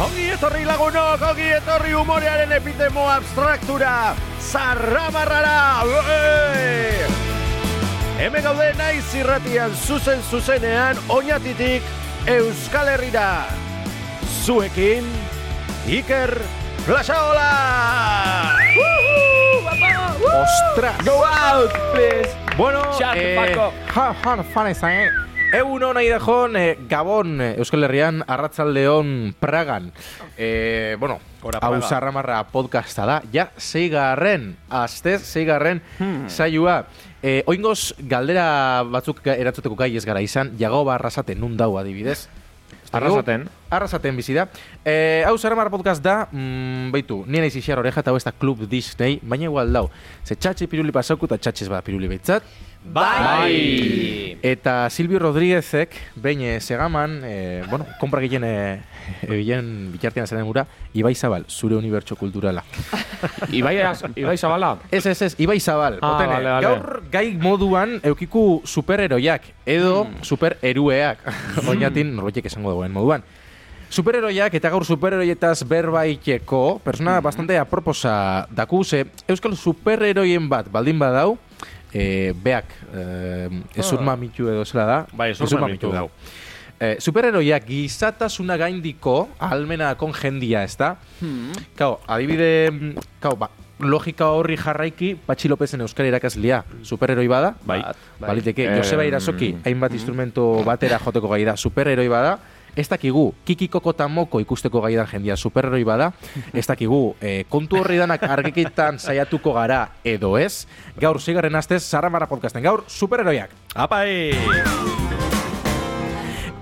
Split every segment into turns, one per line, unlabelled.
Ongi etorri lagunok, ongi etorri humorearen epitemo abstraktura, zarramarrara! Uei! Hemen gaude naiz irratian zuzen zuzenean, oinatitik Euskal Herrira. Zuekin, Iker Plazaola! ¡Ostras!
Go out, please.
Bueno,
Shut the
eh,
fuck up.
Ja, jan, fanezan, eh? Egun hona idejón, eh, Gabon, eh, Euskal Herrian, Arratzaldeon, Pragan. Eh, bueno,
Gora
hau
Praga.
zarramarra podcasta da, ja, zeigarren, astez, zeigarren, saioa. Eh, oingoz, galdera batzuk ga- erantzuteko gai ez gara izan, jagoba arrasaten nun dau adibidez.
Arrasaten.
Arrasaten bizi da. Eh, hau zarramarra podcast da, mm, beitu, nien eiz isiar oreja eta hau ez da Club Disney, baina igual dau. Ze txatxe piruli pasauku eta txatxe ez bada piruli behitzat.
Bai.
Eta Silvio Rodríguezek, behin eh, segaman, eh, bueno, kompra gehien eh, egien bitartean zaren gura, Ibai Zabal, zure unibertso kulturala.
Ibai, Ibai Zabala.
Ez, ez, ez, Ibai Zabal,
Ah,
otene,
vale, vale.
gaur gai moduan eukiku superheroiak, edo
Mm.
superherueak, oinatin norbaitek esango dagoen moduan. Superheroiak eta gaur superheroietaz berbaiteko, persona
Mm.
bastante aproposa daku, ze Euskal superheroien bat baldin badau, eh, beak, eh,
Ah.
ezur mamitu edo zela da.
Bai, ezur mamitu.
dau. Eh, superheroiak gizatasuna gaindiko almena konjendia, ez da?
Hmm.
Kau, adibide, mm, kau, ba, logika horri jarraiki, Patxi Lopezen Euskal irakaslia superheroi bada.
Bai.
Baliteke,
Bai.
Joseba
Em.
Irasoki, hainbat instrumento batera joteko gai da, superheroi bada. Ez dakigu, kikikoko eta moko ikusteko gai da jendia, superheroi bada. Ez dakigu, eh, kontu horri danak argikitan saiatuko gara edo ez. Gaur, zigarren astez, Saramara podcasten. Gaur, superheroiak.
Apai!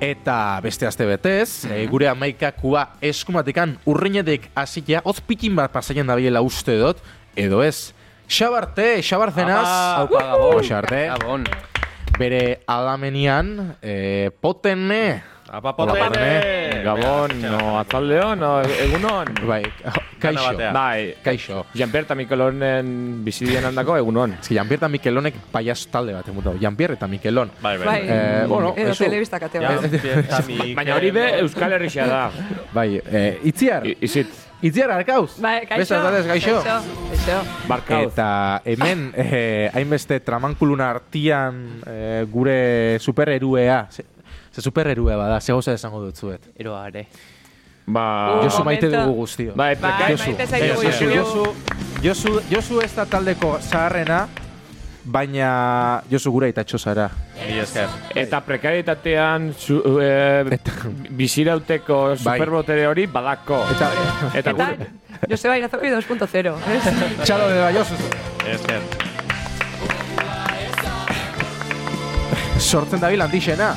Eta beste aste betez, e, gure amaikakua eskumatikan urrinetik hasitia, hotz pikin bat pasaien da bilela uste dut, edo ez. Xabarte, xabarzenaz,
Aupa, Gabon.
Xabarte,
Gabon.
bere alamenian, e, potene,
Apa
Hola,
potene!
potene.
Gabon, no, atzaldeon, no, egunon.
bai, kaixo, Ba,
batea.
Bai.
kaixo.
Jean-Pierre eta Mikelonen bizidien handako egunon.
Ez que Janpier eta Mikelonek paias talde bat emutau, Janpier eta Mikelon.
Ba.
Bai, bai.
Bai.
Eh, bueno,
Edo
eso-
telebista kate
Ja,
bat.
fiesta, mi
Baina hori be
Iker.
Euskal Herrixea da.
Bai, e, itziar,
I- Izit,
itziar arkauz.
Bai, kaixo.
Beste aldez, gaixo.
Gaixo.
barkauz.
Eta hemen eh, hainbeste tramankuluna artian eh, gure superheruea. Ze, ze superheruea bada, ze goza esango dutzuet.
Eroare.
Ba...
Josu
Momentu.
maite dugu guztio.
Bai,
Bai,
prekaizu.
maite zaigu
Josu,
Josu.
Josu, Josu, Josu ez da taldeko zaharrena, baina Josu gure itatxo zara.
Mila esker.
Eta prekarietatean zu, eh,
Eta-
bizirauteko superbotere hori badako.
Eta,
Eta,
Eta
gure-
Joseba Irazoki 2.0. ez?
txalo de Josu.
Esker.
Sortzen dabil antixena.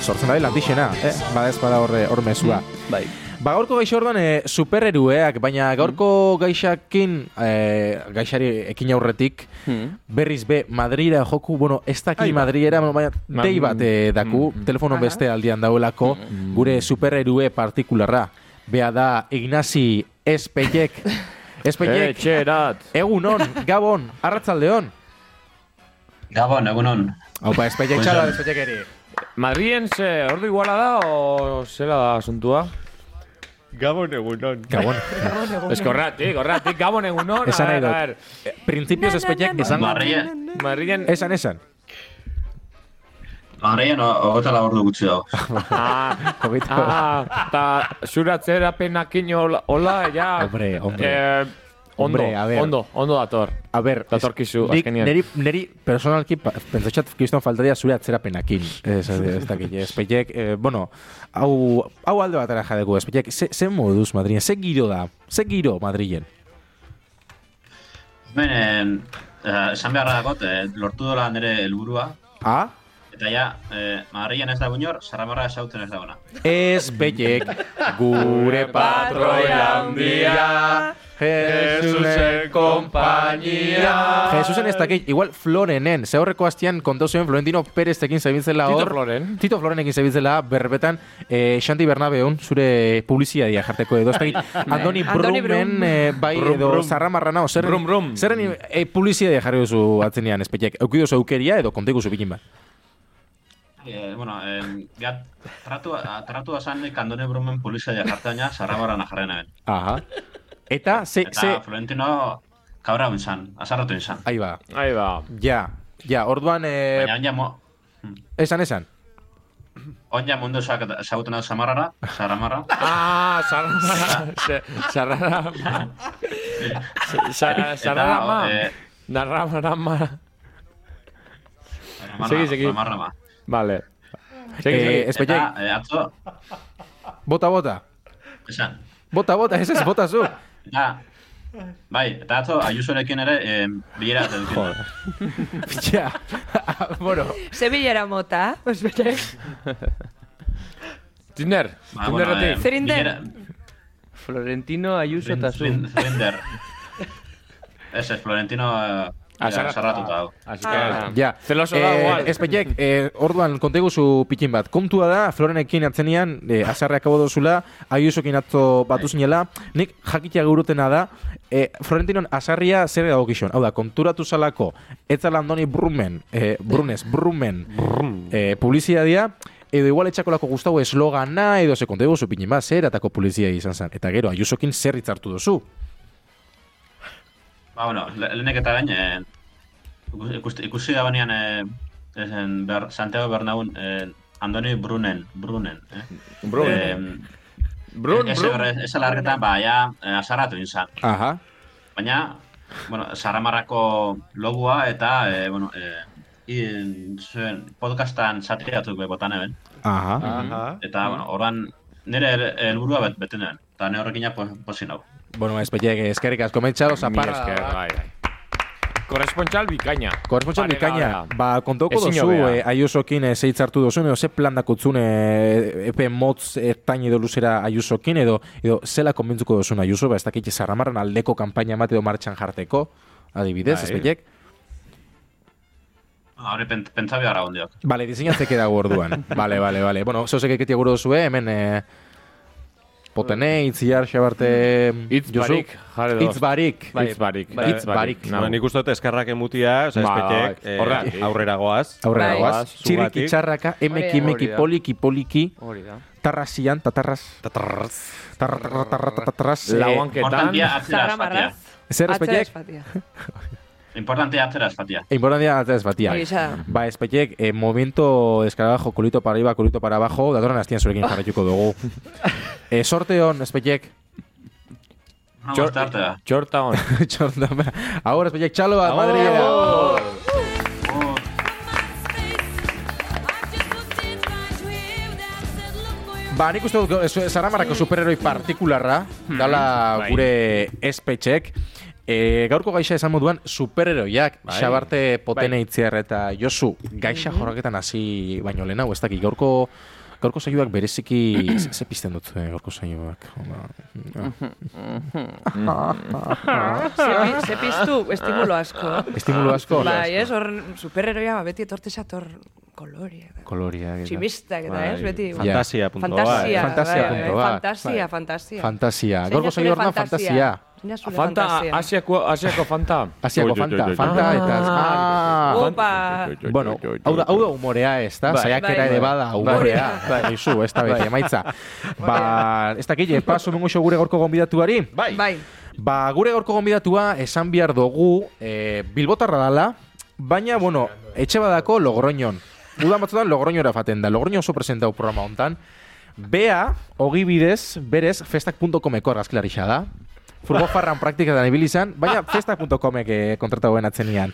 Sortzen dabil antixena. Eh? Bada ez bada horre, hor mezua.
Bai.
Ba, gaurko gaixo orduan e, superherueak, baina gaurko gaixakin, e, gaixari ekin aurretik,
Hmm.
berriz be, Madrira joku, bueno, ez daki Madriera, baina
Ma-
dei bat e, daku, telefono
Aha.
beste aldian dauelako, gure superherue partikularra. Bea da, Ignasi Espeiek.
Eh,
Espeiek,
Etxerat.
egunon, gabon, arratzaldeon.
Gabon, egunon.
Haupa, Espeiek txala,
Buenas.
Espeiek eri.
Madrien ze ordu iguala da o zela da asuntua?
Gabon egunon.
Gabon,
Ez horregatik, horregatik, gabon egunon.
Esan
a
nahi
ber,
dut.
a ber,
printzipioz Espeiek esan.
Barreia,
Madrilen...
Esan, esan.
barreia no, ogota la ordu gutxi dago.
Ah,
Hogeita-
ah, ta zuratzera penakin hola, hola, ja...
Hombre, hombre.
Eh, ondo,
Hombre, a ber.
ondo, ondo dator.
A ber,
Datorkizu,
nik
azkenean.
Neri, neri personalki pa- pentsatxat kriston faltaria zure atzerapenakin. Ez, ez, ez dakit, ez peiek, eh, bueno, hau, hau alde batara jadeku, ez peiek, ze, ze moduz Madrilen, ze giro da, ze giro Madrilen.
Hemen, eh, esan beharra dagot, eh, lortu dola nire helburua
A?
Eta ja, eh, Madrilen ez da inor, Sarramarra esauten ez da ona.
Ez betiek gure patroia handia, Jesusen kompainia. Jesusen ez dakit, igual Florenen, ze horreko hastian kontau zuen Florentino Pereztekin zebiltzela
Tito
hor.
Floren.
Tito Florenekin zebiltzela berbetan, eh, Xanti Bernabeun, zure publiziadia jarteko edo, ez dakit, Andoni
Andoni
Brumen,
Brum.
eh, bai
Brum,
edo
brum.
Zarramarrana, o zerren,
Brum, brum.
zerren eh, publiziadia jarri duzu atzenean, espetiek, eukidozu eukeria edo kontegu bikin bat.
Eh, bueno, eh, ja, tratu, a- tratu asan kandone bromen polizia jartzen ja, Sarramarra najarren eben.
Aha. Eta, ze,
Eta
Eh, ze,
Florentino kabra inzan, azarratu inzan.
Ahí va.
Ahí va.
Ja, ja, orduan, eh,
Baina on ja, mo-
esan esan.
on ja mundu esauten hau Samarrara, Sarramarra.
Ah, sarrara. Sarrara. Sarrara. Sarrara. ma.
eh,
Narrama, narrama.
Eh,
Sarramarra,
Segi, segi.
Samarra ma.
Vale. Segi,
Eh,
segi.
ez baita,
Eta, eh, atzo,
bota, bota.
esan,
Bota, bota, ez ez, bota zu.
Eta, bai, eta atzo Ayusorekin ere eh, bilera bat eduki.
Joder. ja, bueno,
Sevillera mota, pues bere.
Tinder.
Ba, bueno, eh,
Tinderretik.
Zer inden?
bilera-
Florentino Ayuso eta zu.
Flin- Flinder. Ez, ez, Florentino eh,
Azarratu.
azarratuta dago.
Así
Ah.
que...
ja.
Zeloso da,
eh,
igual.
Espeiek, eh, orduan, konteguzu pikin bat. Kontua da, Florenekin atzenean, eh, azarreak abo dozula, aiusokin atzo batu zinela, nik jakitea gurutena da, eh, Florentinon azarria zer dago gizon. Hau da, konturatu zalako, etzala Andoni Brumen, eh, Brunes, Brumen, eh, publizidadia, edo igual etxakolako guztau eslogana, edo ze konteguzu pikin bat, zer atako publizia izan zen. Eta gero, aiusokin zer hitzartu duzu.
Ba, bueno, le- lehenek eta bain, eh, ikus- ikusi, ikusi da banean, eh, ezen, Ber- Santiago Bernaun, eh, Andoni Brunen, Brunen, eh? Brunen.
Brun,
Eh, ese
brun.
horre- esa larketa, ba, ja, eh, azarratu inzan.
Aha.
Baina, bueno, Saramarrako logua eta, eh, bueno, eh, in, zuen, podcastan satriatuk bebotan eben.
Aha.
Aha.
Eta, bueno, ordan nire hel- helburua bet, bete nuen. Eta ne horrekin ja po- posi nau.
Bueno, espetxeak, eskerrik asko mentxado, zaparra.
Mila esker, bai, bai. Korrespontxal bikaina.
Korrespontxal
Paregabea.
bikaina, ba, kontoko
Ezin
dozu,
hobea.
eh, aiusokin eh, zeitzartu dozun, edo ze plan dakotzun eh, epe motz ertain edo luzera aiusokin, edo, edo zela konbintzuko dozun aiuso, ba, ez dakit zarramarran aldeko kanpaina bat edo martxan jarteko, adibidez,
Bai.
espetxeak.
Hore, pen, pentsa behar hau diok.
Bale, diseinatzeke dago orduan. bale, bale, bale. Bueno, zozek eketia gure dozue, hemen... Eh, Potene, itziar, xabarte...
Itz
Josu?
barik, jarri doz.
Itz barik.
Bai, Itz barik.
bai,
Itz barik.
Nau.
No, nik uste dut eskarrak emutia, oza,
Ba,
espetek,
bai.
eh,
Horregatik.
aurrera goaz.
Aurrera
Bai.
goaz.
Zugatik.
Txirriki txarraka, emeki,
Hori da.
emeki,
Hori da.
poliki, poliki.
Hori da.
Tarrasian, tatarraz. Tarra, tarra, tarra, tarra, tarraz. Eh,
Lauanketan.
Importantia
Ah,
atzera espatia.
Zarramarraz.
Zer
Atzera
espetiek?
espatia.
Importantia atzera espatia.
Importantia atzera ez batia.
Hori da.
Ba, espetiek, eh, movimiento escarabajo, culito para arriba, culito para abajo, datorren aztien zurekin jarraituko dugu. eh, sorte hon, espetiek.
No,
Txor-
bastarte da.
Txorta hon.
Txorta, Ahora, espetiek, txalo bat, Madrid.
Oh,
Ba, nik uste dut, ez- Zaramarrako superheroi partikularra, dala
bai.
gure espetxek. E, gaurko gaixa esan moduan superheroiak, xabarte potene
Bai. Mhm.
itziar eta Josu, gaixa jorraketan hasi baino lehenago, ez dakit, gaurko Gaurko saioak bereziki ze- ze pizten dut eh, gaurko saioak. ah,
Mhm.
Ze- Ze piztu, estimulo asko.
Estimulo asko.
Bai, ez, hor superheroia ba, beti etorte zator kolore.
Koloria. eh,
Tximistak eta, ez, beti. bai.
Ja.
Fantasia.
Fantasia.bat.
Fantasia
bai,
puntu
bai,
bat.
Fantasia, fantasia.
Fantasia.
Zein
Gaurko
da zure
saio horna fantasia.
Zein da zure
Fanta,
fantasia?
asiako, asiako fanta.
Asiako
Oi, oi, oi,
fanta,
oi, oi.
fanta eta... Ah,
Opa!
Bueno, hau da, hau da humorea ez da,
Bai.
saiakera
Bai. Bai.
ere bada humorea. Bai, Izu, ez da beti, emaitza. Ba, ez dakit, eh, paso mengo iso gure gorko gonbidatuari.
Bai.
Bai,
Ba, gure gorko gonbidatua esan behar dugu eh, bilbotarra dala, baina, bueno, etxe badako logroñon. Udan batzutan logroñora faten da, logroño oso presentau programa hontan. Bea, hogi bidez, berez, festak.comeko argazkilarixa da. Furgo farran praktiketan ibili izan, baina festak.comek eh, kontratagoen atzenian.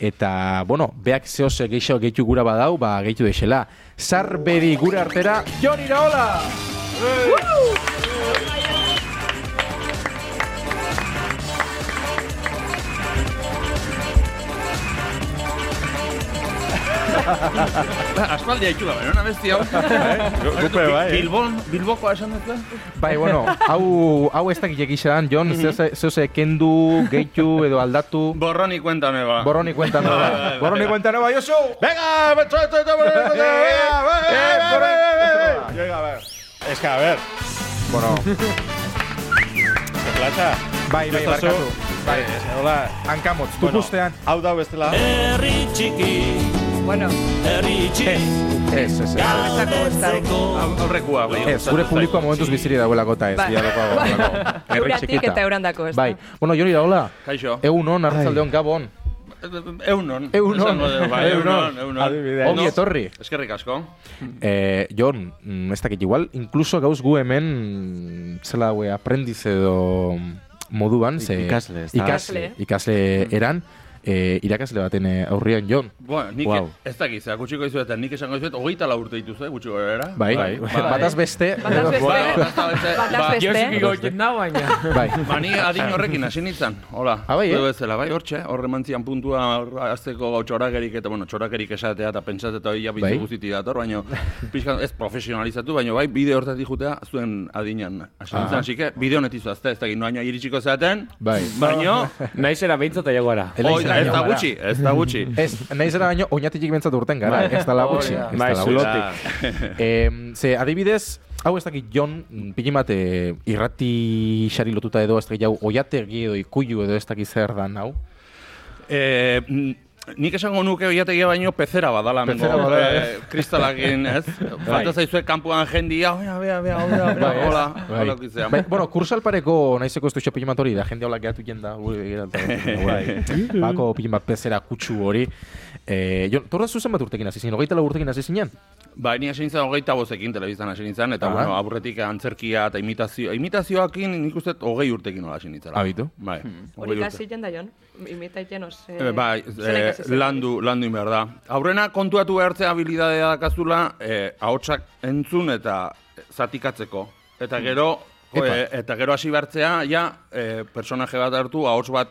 Eta, bueno, beak zehose gehiago gehitu gura badau, ba, gehitu deixela. Sarbedi gure artera, Joni Iraola!
Aspaldi haitu da, baina bestia hau.
Gu- gupe bai, eh?
Bilbon, Bilbokoa esan dut da?
Bai, bueno, hau, hau ez dakit egizan, Jon, mm zeuze kendu, gehitu edo aldatu.
Borroni kuentame ba.
Borroni kuentan nova. Borroni kuentan nova, Josu!
Venga, macho, esto, esto, esto, esto, esto,
Eh,
esto, Venga, a ver. Es que, a ver,
Bueno,
se plaza.
bai, bai,
Josu.
barkatu.
Bai,
Eh,
ez, hola.
Hankamotz, tupustean.
Hau da bestela.
Bueno,
Ez, ez, ez.
Ah,
ezako gustatu.
Aurrekua, bai.
Ez, gure publikoa momentuz biziri dagoelako eta ez.
Bai.
dialako-
Bai.
dialako. Herri
Uratik
txikita.
eta eurandako, ez da?
Bai. Bueno, Jori Iraola,
Kaixo.
egun on, arratzaldeon gabon.
Eunon.
Eunon.
Esango dugu, bai, Eunon,
Eunon.
eunon.
Adibidez.
Ongi etorri.
Eskerrik asko.
Eh, Jon, mm, ez dakit igual, inkluso gauz gu hemen, mm, zela haue, aprendiz edo moduan, ze...
Ikasle, ez da?
Ikasle, ikasle eran, eh, irakasle baten eh, aurrian, Jon.
Bueno, nik
Guau.
ez dakit, ze, gutxiko izuet, eta nik esango izuet, hogeita la urte dituzue, gutxi gutxiko era.
Bai, bataz beste.
Bataz beste.
Bueno, bataz beste.
Bataz
Ba,
beste.
Yo sí que
Beste.
goiten da, baina.
Bai.
Ba, ni adin horrekin hasi nintzen, hola.
Ah, bai, eh?
Zeu bezala, bai, hortxe, horre mantzian puntua hor azteko txorakerik, eta bueno, txorakerik esatea eta pentsat eta ia bizi
Bai.
guztiti dator, baina pixka ez profesionalizatu, baina bai, bide hortatik jutea zuen adinan. Hasi
Ah.
nintzen, hasi que bide honetizu azte, ez dakit, noaino iritsiko zaten,
Bai.
baino,
Naizera behintzat aiago gara.
Elaiz
hoi da, ez da
gara.
gutxi, ez da gutxi.
Ez, nahi zera baino, oinatik bentsat urten gara, ez da lagutxi.
Hori da.
Ez da
Bai,
lagutxi.
zulotik.
Em, ze, adibidez, hau ez dakit Jon, mm, pillin bat eh, irrati xari lotuta edo ez dakit hau oiategi edo ikuilu edo ez dakit zer dan hau.
Eh, mm, nik esango nuke oiategia baino pezera badala mengo.
Pezera badala,
eh, kristalakin, ez? Falta zaizue kanpoan "Ah, jendia, oia, bea, bea, hola, hola,
ez?
Ba, hola,
Bai.
hola, ukizea.
Bai, bueno, kursalpareko naizeko ez duxo pillin bat hori da, jende hola geratu jenda, gure begira eta bai. Bako pillin bat pezera kutsu hori. Eh, Jon, torra zuzen bat urtekin hasi zinen, hogeita lau urtekin hasi zinen?
Ba, ni hasi nintzen hogeita bozekin telebiztan hasi nintzen, eta
Aha.
bueno, aurretik antzerkia eta imitazio, imitazioakin nik uste dut hogei urtekin hola hasi nintzela.
Abitu.
Bai,
Hori
hogei
kasi
urte.
jenda jon, imita iten os. eh,
Eh, bai,
zelan
eh,
ikasi zen.
landu, landu inbehar da. Aurrena kontuatu behartzea habilidadea dakazula, eh, ahotsak entzun eta eh, zatikatzeko. Eta gero,
Mm. Epa.
eh, eta gero hasi behartzea, ja, eh, personaje bat hartu, ahots bat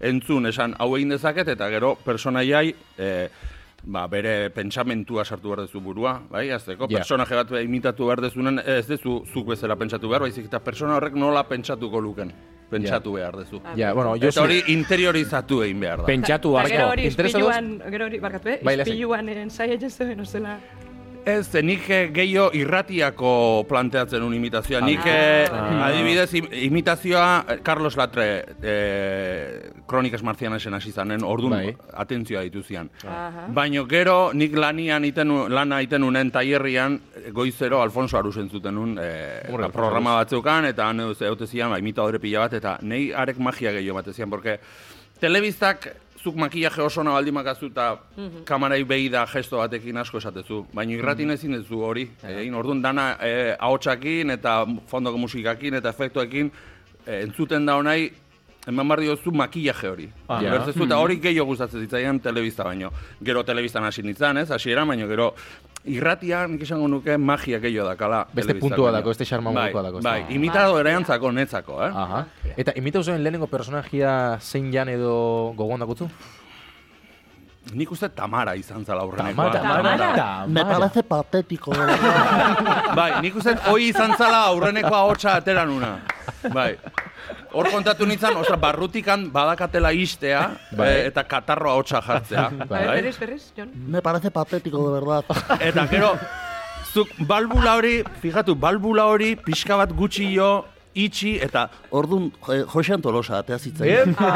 entzun, esan hau egin dezaket, eta gero personaiai, eh, ba, bere pentsamentua sartu behar dezu burua, bai, azteko,
Ja.
personaje bat imitatu behar dezunen, ez dezu zuk bezala pentsatu behar, baizik eta persona horrek nola pentsatuko luken, pentsatu behar dezu.
Ja, bueno, Josu...
Eta hori interiorizatu egin behar da.
Pentsatu
Ah, Eta Ba, Gero
harko.
hori
Interesa dos?
ispiluan, gero hori, barkatu, eh?
Bai, lasai.
Ispiluan ensaia egin zeuen, ozela.
Ez, ze nik eh, gehiago irratiako planteatzen un imitazioa. Nik eh, adibidez im- imitazioa eh, Carlos Latre eh, Kronikas Marzianesen hasi zanen, orduan
Bai.
atentzioa dituzian.
Aha.
Baino gero, nik lanian iten, nu- lana iten unen tailerrian, goizero Alfonso Aruz entzuten nun,
Hombre,
eh, eta
Alfonso
programa batzeukan, eta han edo- eute zian, ba, imitadore pila bat, eta nei arek magia gehiago bat zian, porque telebiztak zuk makillaje oso ona baldin makazu eta kamarei behi da gesto batekin asko esatezu.
Mhm.
Baina irratin ezin duzu hori. Egin orduan dana eh, ahotsakin eta fondoko musikakin eta efektuekin eh, entzuten da honai eman behar diozu makillaje hori. Ah,
Ja. Mm.
Ulertzen zu, eta hori gehiago gustatzen zitzaidan telebista baino. Gero telebistan hasi nintzen, ez? Hasiera baino gero irratian nik esango nuke magia gehiago dakala.
Beste
telebista
puntua
baino.
dako, beste xarma
bai,
modukoa dako, ez da? Ah.
Bai, imitado ere antzako, netzako, eh?
Aha. Eta imita zuen lehenengo personajia zein jan edo gogoan dakutzu?
Nik uste Tamara izan zala aurrenekoa.
Me parece patético, de verdad.
Bai, nik uste hoi izan zala aurreneko ahotsa atera nuna. Bai. Hor kontatu nintzen, ostra, barrutikan badakatela istea
Bai.
eh, eta katarroa ahotsa jartzea.
A
Bai.
ver, berriz, berriz, jon.
Me parece patético, de verdad.
Eta gero, zuk balbula hori, fijatu, balbula hori pixka bat gutxi jo, itxi, eta...
Orduan, eh, Jose Antolosa, atea zitzaien.
Epa,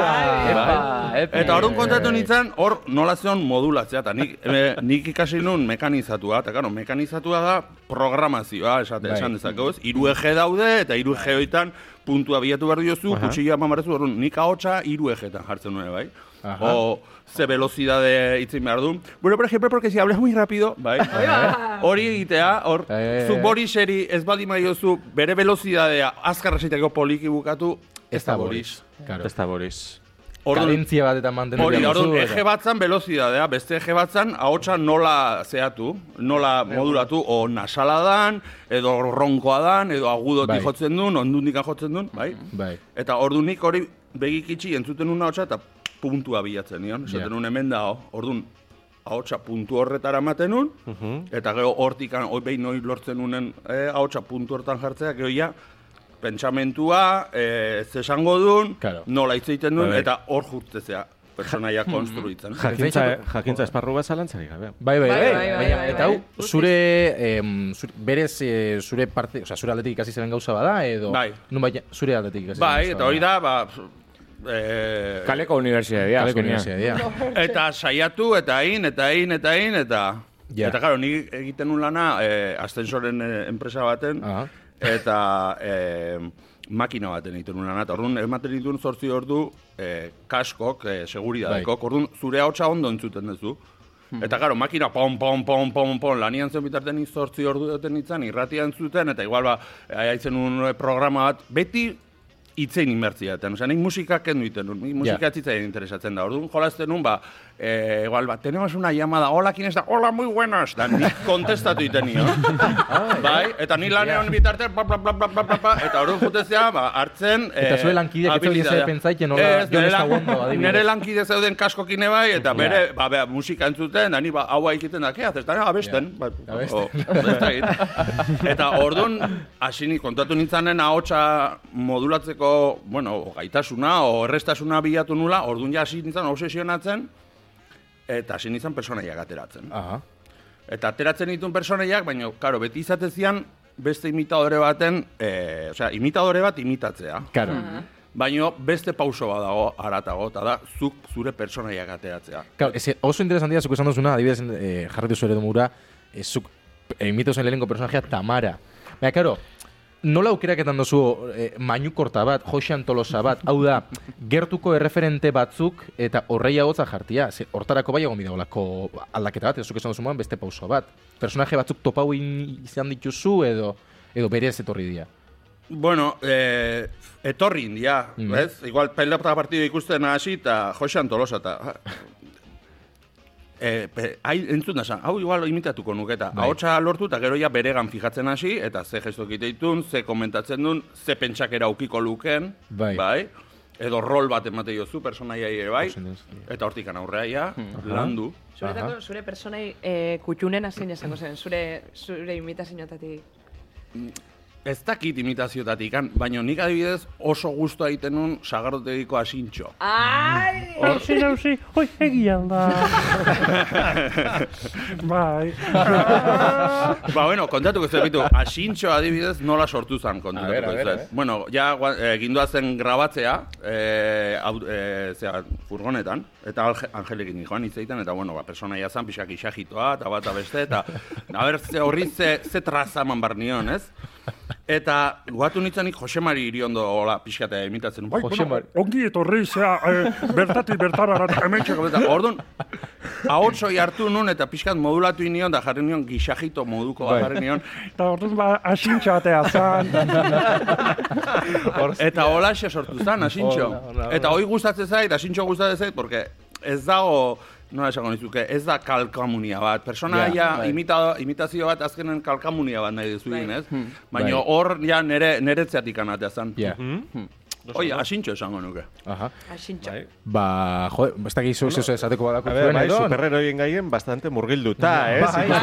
Epa, epa.
Eta
Eh.
orduan kontatu nintzen, hor nola zion modulatzea, eta nik, e, nik ikasi nun mekanizatua, eta claro, mekanizatua da programazioa, esate,
Bai.
esan dezakeuz, hiru eje daude, eta hiru E eje hoitan puntua bilatu behar diozu, uh -huh. kutsilloa eman behar duzu, orduan nik ahotsa hiru ejetan jartzen nuen, bai?
Aha.
O, ze velocidade itzin behar du. Bueno, por ejemplo, porque si hablas muy rápido, bai? Hori egitea, hor,
Eh.
zu borixeri ez baldin badiozu bere velozidadea azkar esiteko poliki bukatu, ez da boris.
Claro.
Esta Boris.
Orduan,
Kadentzia bat eta mantendu
Hori,
behar duzu,
orduan,
eta-
eje batzan velozidadea, beste eje batzan ahotsa nola zehatu, nola modulatu, o nasala dan, edo ronkoa dan, edo agudotik
Bai.
jotzen duen, ondundik jotzen duen, bai?
Bai.
Eta orduan nik hori begik itxi entzuten una ahotsa eta puntua bilatzen nion,
Ja.
oh, esaten nun hemen dago, orduan ahotsa puntu horretara ematen nun, eta gero hortik, hoi behin noi lortzen unen eh, ahotsa puntu hortan jartzea, gero ja, pentsamentua, eh, ze esango dun,
Claro.
nola hitz egiten duen,
Bai, bai.
eta hor jurtzea personaia konstruitzen.
Jakintza, jakintza esparru bat zalantzarik gabe.
Bai, bai, bai.
Bai, bai, bai,
Baina,
bai,
eta hau,
bai.
zure, em, zure, berez, eh, zure parte, o sea, zure aldetik ikasi zeren gauza bada, edo...
Bai.
Nonbait, zure aldetik ikasi
Bai,
zeren
eta
gauza
hori da, ba, pf, eh,
Kaleko universidadea.
Kaleko
azkenean.
unibertsitatea.
Eta saiatu, eta egin, eta egin, eta egin, eta...
Ja.
Eta, claro, ni egiten nun lana, eh, ascensoren eh, enpresa baten,
Aha.
eta eh, makina baten egiten nun lana. Eta orduan, ematen dituen zortzi ordu, eh, kaskok, eh, seguridadeko,
Bai.
orduan, zure hautsa ondo entzuten duzu. Eta, claro, makina pom, pom, pom, pom, pom, lanian zen bitartean ni zortzi ordu duten nintzen, irratian zuten, eta igual, ba, haitzen un programa bat, beti itzein inbertziaten. Osa, nik musika kendu iten nun, nik musika
Ja.
zitzaien interesatzen da. Orduan jolazten nun, ba, eh, igual, ba, tenemos una llamada, hola, ¿quién está? Hola, muy buenas, da, nik kontestatu iten nio. bai, eta ni lanean bitarte, bla, bla, bla, bla, bla, bla, bla, eta orduan jutezea, ba, hartzen...
Eta
eh,
zure lankideak ez zebilen zer
habilidadea.
pentsaiten, hola,
Ez,
Jon
nire
ez da
lan-
ondo, adibidez.
Nire lankide zeuden kaskokin bai, eta bere, ba, bea, musika entzuten, da, ni, ba, haua egiten da, kea, zestan, abesten. Ba,
abesten.
o, ez dakit. eta orduan, hasi ni kontatu nintzanen ahotsa modulatzeko, bueno, o gaitasuna, o errestasuna bilatu nula, orduan ja hasi nintzen obsesionatzen, eta hasi nintzen personaiak ateratzen.
Aha.
Eta ateratzen ditun personaiak, baina, karo, beti izatezian, beste imitadore baten, e, osea, imitadore bat imitatzea.
Claro.
Baina beste pauso bat dago aratago, eta da, zuk zure personaiak ateratzea.
Claro, ez, oso interesantia zuk esan duzuna, adibidez, eh, jarretu zure demura, eh, zuk eh, imitu zen lehenengo personajea Tamara. Baina, claro, nola aukeraketan duzu eh, mainukorta bat, Josean Tolosa bat, hau da, gertuko erreferente batzuk eta horrei hotza jartia. Ze, hortarako bai egon bidagolako aldaketa bat, edo zuk esan duzu moan beste pauso bat. Personaje batzuk topau in- izan dituzu edo edo berez etorri dira.
Bueno, eh, etorri india,
Mm.
ez? Igual pelota partidu ikusten hasi eta Jose Antolosa eta... ah, Eh, pe- hai, entzun da esan, hau igual imitatuko nuke eta
Bai.
ahotsa lortu eta gero ja beregan fijatzen hasi eta ze gestok iteitun, ze komentatzen duen, ze pentsakera ukiko luken,
Bai.
Edo rol bat emate jozu, personaiai ere bai,
Oso interesgarria.
eta hortikan aurrea ja, landu.
Zuretako, zure personai eh, kutxunen azin esango zen, zure, zure imitazioetatik.
Ez dakit imitaziotatik, baina nik adibidez oso gustoa egiten nun sagardotegiko asintxo.
Ai!
Hauzi, hauzi, hoi, egia da. bai.
ba, bueno, kontatuko zerbitu, asintxo adibidez nola sortu zan kontatuko zerbitu. Bueno, ja gua- eh, gindua zen grabatzea, eh, au- eh, zera, furgonetan, eta Alge- Angelekin joan hitz egiten, eta bueno, ba, personaia zan, pixak isajitoa, eta bata beste, eta aber, ze horri ze, ze traza eman bar nion, ez? Eta guatu nitzanik Josemari iriondo hola pixkatea imitatzen. Bai, bueno,
Ongi etorri, zea, eh, bertatik bertara arat, hemen
Hementxe komentatzen. Orduan, ahotsoi hartu nun eta pixkat modulatu inion da jarri nion gixajito moduko bat jarri nion.
Eta orduan ba, asintxatea zan.
Eta holaxe sortu zen, asintxo. Eta hoi gustatzen zait, asintxo gustatzen zait, porque ez dago, nola esango nizuke, ez da kalkamunia bat. Persona ja, imita, imitazio bat azkenen kalkamunia bat nahi duzu egin, ez? Baina
Bai.
hor ja nere, neretzeatik anatea zen.
Ja.
Mhm.
Oi, asintxo esango nuke.
Aha.
Asintxo.
Bai.
Ba, jo, ez dakit zuk zeu esateko badako
A ver,
zuen
bai,
edo?
superheroien gaien bastante
Bai.
murgilduta, eh, ez? Ikusten-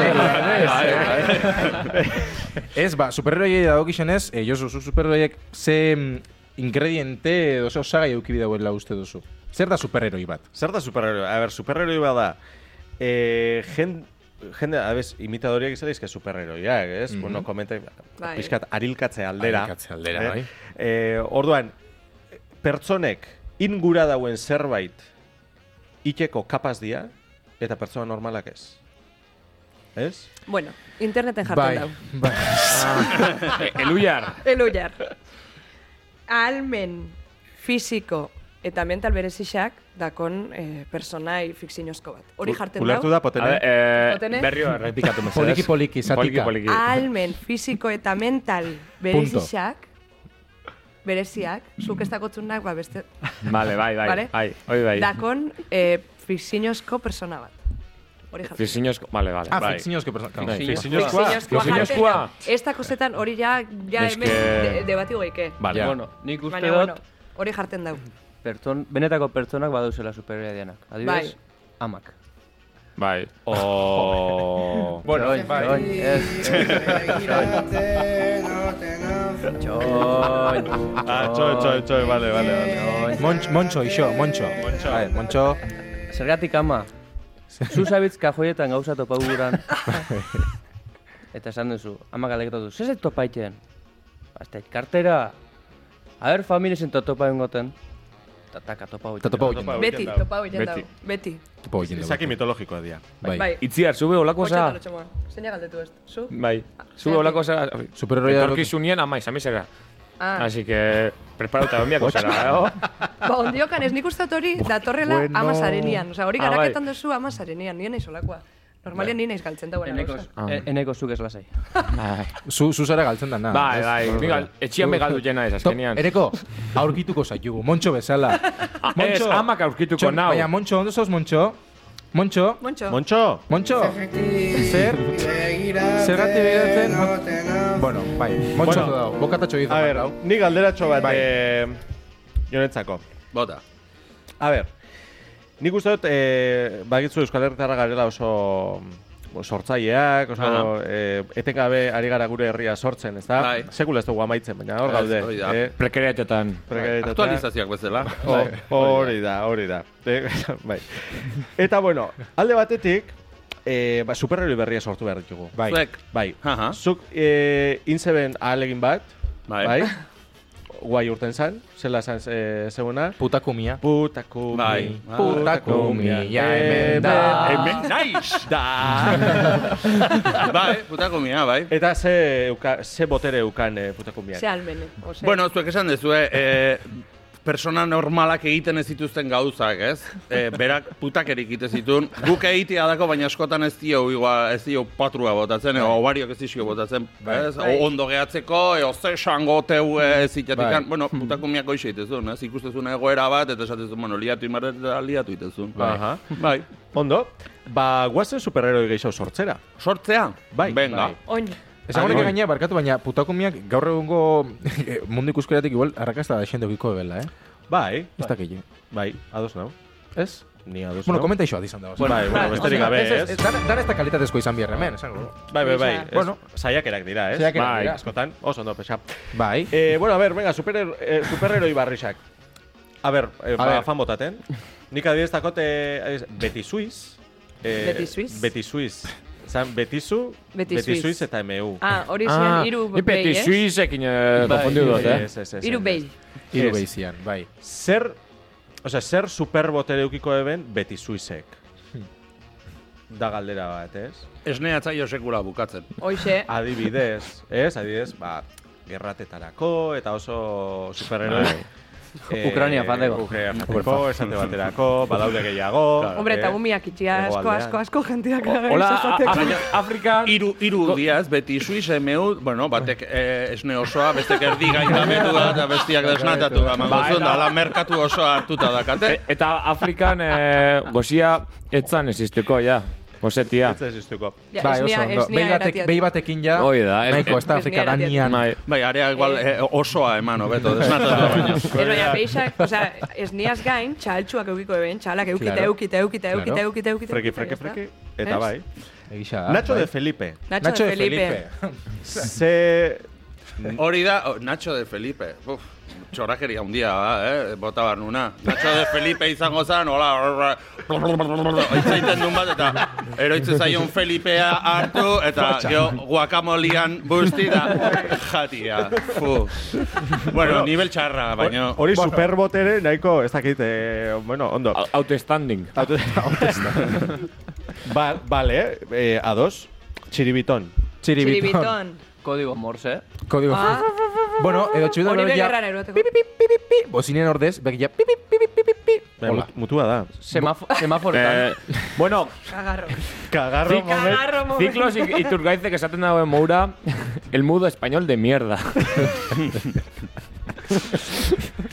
Ez, ba, superheroiei dagokixenez, eh, Josu, zu superheroiek ze mm, ingrediente edo ze osagai eukibi dauela uste duzu. Zer da superheroi bat?
Zer da superheroi? A ber, superheroi bada. Eh, jen, jende, abez, imitadoriak izan daizke superheroiak, ez? Bueno, komenta,
Bai.
pixkat, arilkatze aldera.
Mhm. Arilkatze aldera, bai.
Eh, orduan, pertsonek ingura dauen zerbait iteko kapaz dia, eta pertsona normalak ez. Ez?
Bueno, interneten jartzen dau.
bai. Ah,
Eluyar.
El ullar. Almen fisiko eta mental berezixak dakon eh, personai fikzinozko bat. Hori jartzen
Ulertu
dau.
da potene?
eh,
Otene?
berriro errepikatu mesedez.
Poliki, poliki, zatika.
Poliki, poliki.
Ah. Almen fisiko eta mental berezixak bereziak, zuk ez dakotzunak, ba beste,
Vale, bai, bai.
Vale.
Ai, hoi bai.
dakon eh, fikzinozko persona bat. Hori jartzen.
Fizinozko, vale, vale.
Ah,
bai.
fikzinozko pertsona.
Fikzinozkoa
Fikzinozkoa.
jartzen. Ez da kozetan hori ja, ja
Eske-
hemen de, debati goike.
Vale.
Ja.
Bueno, nik uste
Baina,
dut,
bueno, hori jartzen dau.
pertson, benetako pertsonak badauzela superioria dianak. Adibidez,
Bai.
amak.
Bai. O...
Bueno,
Bai,
bai.
bai. Ez. Txoin.
Ah, txoi, txoi, txoi, bale, bale, bale.
Monch, moncho, iso, moncho. Moncho. Bai, moncho.
Zergatik ama. Zu zabitz kajoietan gauza topa guran. Eta esan duzu, ama galeketatu, zer zet topaiten? Azte, kartera. Aber familiesen to topa engoten. Eta taka topa hoiten.
Eta topa hoiten.
Topa
Beti,
hoiten dau.
topa hoiten
Beti.
dago. Beti.
Topa hoiten dago.
Izaki mitologikoa dira.
Bai.
Bai.
Itziar, zube olako za...
Otxatalo, txamoan. Zein galdetu ez? Zu?
Bai. Zube
Zergatik.
olako za...
Superheroia-
Etorkizunien ama izan bizera.
Ah,
Así que... Preparauta onbiako zara, eh, oh. o?
ba, ondiokan ez nik uste dut hori datorrela bueno. amasarenean. Osa, hori
Ah, bai.
garaketan duzu amasarenean, nien naiz olakoa. Normalian nien naiz galtzen dagoen.
Eneko,
Ah.
e- eneko zuk ez lasai.
Zu, zu zara galtzen da, na.
Bai,
ez?
bai. Nik gal- etxian begaldu jena ez,
To-
azkenean.
Ereko, aurkituko zaitugu, Moncho bezala.
Ez, amak aurkituko
Txon,
nau.
Baina, Moncho, ondo zauz, Moncho? Moncho?
Montxo,
Moncho,
Moncho? Zer? Zergati begiratzen? Bueno, bai, Moncho
Bueno,
bueno, dago, bokatatxo egiten.
a ber,
dago.
ni galderatxo bat
Bai.
eh, jonetzako.
Bota.
A ber, nik uste dut, eh, bagitzu Euskal Herritarra garela oso mm, sortzaileak,
Ah.
oso
Aha.
eh, etengabe ari gara gure herria sortzen, ezta?
Bai.
Sekula ez dugu amaitzen, baina hor
Ez,
gaude.
hori da.
eh,
Prekariatetan.
prekarietatea.
Aktualizazioak bezala.
O-
bai.
Hori da, hori da. E, bai. Eta bueno, alde batetik, eh, ba, superheroi berria sortu behar ditugu.
Bai.
Zuek.
Bai.
Aha.
Zuk eh, inzeben ahalegin bat,
Bai.
bai. Guai urten zan, zela zan eh, zegoena.
Putakumia.
Putako
Bai.
Putakumia eh, bai, hemen da.
Hemen naiz! Da! bai, putako mia, bai.
Eta ze, euka, ze botere eukan eh, putako
ze almene. Ose,
Bueno, zuek esan dezue, eh, persona normalak egiten ez zituzten gauzak, ez? Eh, berak putakerik egiten zituen. Guk egitea dako, baina askotan ez dio, igua, ez dio patrua botatzen,
Bai.
edo obariok ez dizio botatzen, ez? O, ondo gehatzeko, eo ze esango teu eh, ez
Bai.
itxatikan. Bueno, putako miako iso egitezun, ez? Ikustezun egoera bat, eta esatezun, bueno, liatu imarret, eta liatu egitezun.
Aha.
Bai.
Ondo, ba, guazen superheroi gehiago sortzera.
Sortzea?
Bai,
Venga.
bai.
Oin,
Esan honek
Bai.
gainea, barkatu, baina putakumiak gaur egungo eh, mundu ikuskeratik igual arrakasta da xende okiko bela, eh?
Bai,
Ez dakile.
bai, ados nau.
Ez?
Ni ados
Bueno,
nau.
komenta iso bat izan da.
Bai, bueno, besterik gabe,
ez?
ez?
ez, Dan dan ez da kalitatezko izan bihar hemen, esango.
Bai, bai, bai.
Osea,
Ez,
bueno.
Saiakerak dira, ez?
Saiakerak
bai.
dira.
Askotan, oso ondo, pesa.
Bai.
Eh, bueno, a ver, venga, super, eh, superheroi barrixak. A ver, eh, ba,
ver.
fan botaten. Nik adibidez dakote adibidez, Beti Suiz. Eh,
Beti Suiz?
Beti Suiz. Zan, Betizu,
Beti
Beti
Suiz.
Suiz eta MU.
ah, hori ziren hiru
ni
behi,
Petit
eh?
Suissekin
Bai,
eh, konfundiu dut, eh?
Ez, ez, ez,
Hiru
ez.
behi.
Hiru
Ez.
beizian, bai.
Zer, o sea, zer superbotere eukiko eben Beti Suizek. Da galdera bat, ez?
Esnea zaio sekula bukatzen.
Hoxe,
Ah, Adibidez, ez? Adibidez, ba, gerratetarako eta oso superheroi.
Bai.
eh,
Ukraina fateko.
Ukraina fateko, esate baterako, badaude gehiago.
hombre, eta
eh,
gumiak itxia asko,
hegoaldean.
asko, asko jenteak
Hola,
Bai,
Ah,
izateko.
Af- Afrikan...
Iru, iru diaz, beti suiz, emeu, bueno, batek eh, esne osoa, bestek erdi gaita betu da, eta bestiak desnatatu da,
Ba,
mangozun,
eta-
da, la merkatu osoa hartuta dakate.
E- Eta Afrikan eh, gozia etzan existuko, ja. Gozetia.
Ez ez iztuko.
Ja,
Bai, oso
esnea-
ondo.
esnea
Behi batek-
eratiat.
behi batekin ja,
Hoi da, ez-
nahiko ez da
ez-
Afrika
esnea eratiat.
danian.
Bai.
Bai, area igual eh, osoa eman, hobeto, desnatatu baina.
Ez baina peixak, osea, esniaz gain, txaltxuak eukiko eben, txalak eukita,
Claro.
eukita, eukita,
Claro.
eukita, eukita, eukita.
Freki,
eukita,
freki,
ya está.
freki. Eta
Ez?
bai.
Egisa da,
Nacho
bai.
de Felipe.
Nacho, de Felipe.
Ze...
Hori da, oh, Nacho de Felipe. Uf, txorakeria handia da, eh? Bota bar nuna. Nacho de Felipe izango zen, hola, horra, itzaiten duen bat, eta eroitze zaion Felipea hartu, eta jo, guakamolian busti da, jatia. Fu. Bueno, nivel txarra, baina...
Hori superbotere nahiko, ez dakit, eh, bueno, ondo.
Au- Outstanding.
Auto- ba, vale, eh, ados. Txiribiton.
Txiribiton.
Txiribiton.
Kodigo morse.
Kodigo.
Ah.
Bueno, edo txibito
Hori
bero ja...
begerran eroteko.
Pi, pi, pi, pi, pi. Bozinien ordez, bek ja... Pi, pi, pi, pi, pi, pi, pi.
Bai,
Hola.
mut- Mutua da.
Semafo semaforotan.
Eh, bueno,
Cagarro.
Kagarro moment.
Cagarro momento.
Ciclos y, y Turgaizek esaten dagoen moura el mudo español de mierda.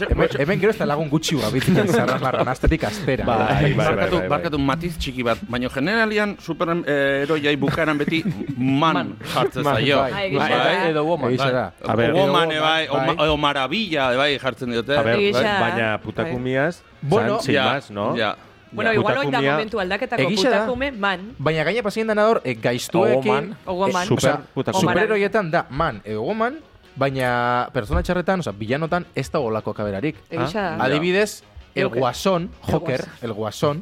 Hemen, hemen gero ez da lagun gutxi hua bitzen zarra marran, astetik astera.
Bai, bai, bai,
Barkatu,
bai, bai.
barkatu matiz txiki bat, baina generalian super eh, eroiai bukaran beti man, jartzen
Man,
zaio.
bai.
Ai,
Bai,
gizona.
edo woman.
Egisa da.
A ver.
Woman, eh, bai,
Bai.
o, ma- o maravilla, eh, bai, jartzen diote.
A ver,
Egia
bai,
da.
baina putakumiaz,
Bueno,
zan, sin más, no?
Ya.
Bueno, igual oita
Putakumea-
momentu aldaketako
Egia da.
putakume, man.
Baina gaina pasien dena hor, e, gaiztuekin...
Ogoman.
Ogoman.
Eh, osea,
Super putakume.
superheroietan da, man, edo goman, baina pertsona txarretan, oza, bilanotan ez da olako kaberarik.
Egia
Ah,
da.
Adibidez, el
Joker.
guasón, Joker, el guasón,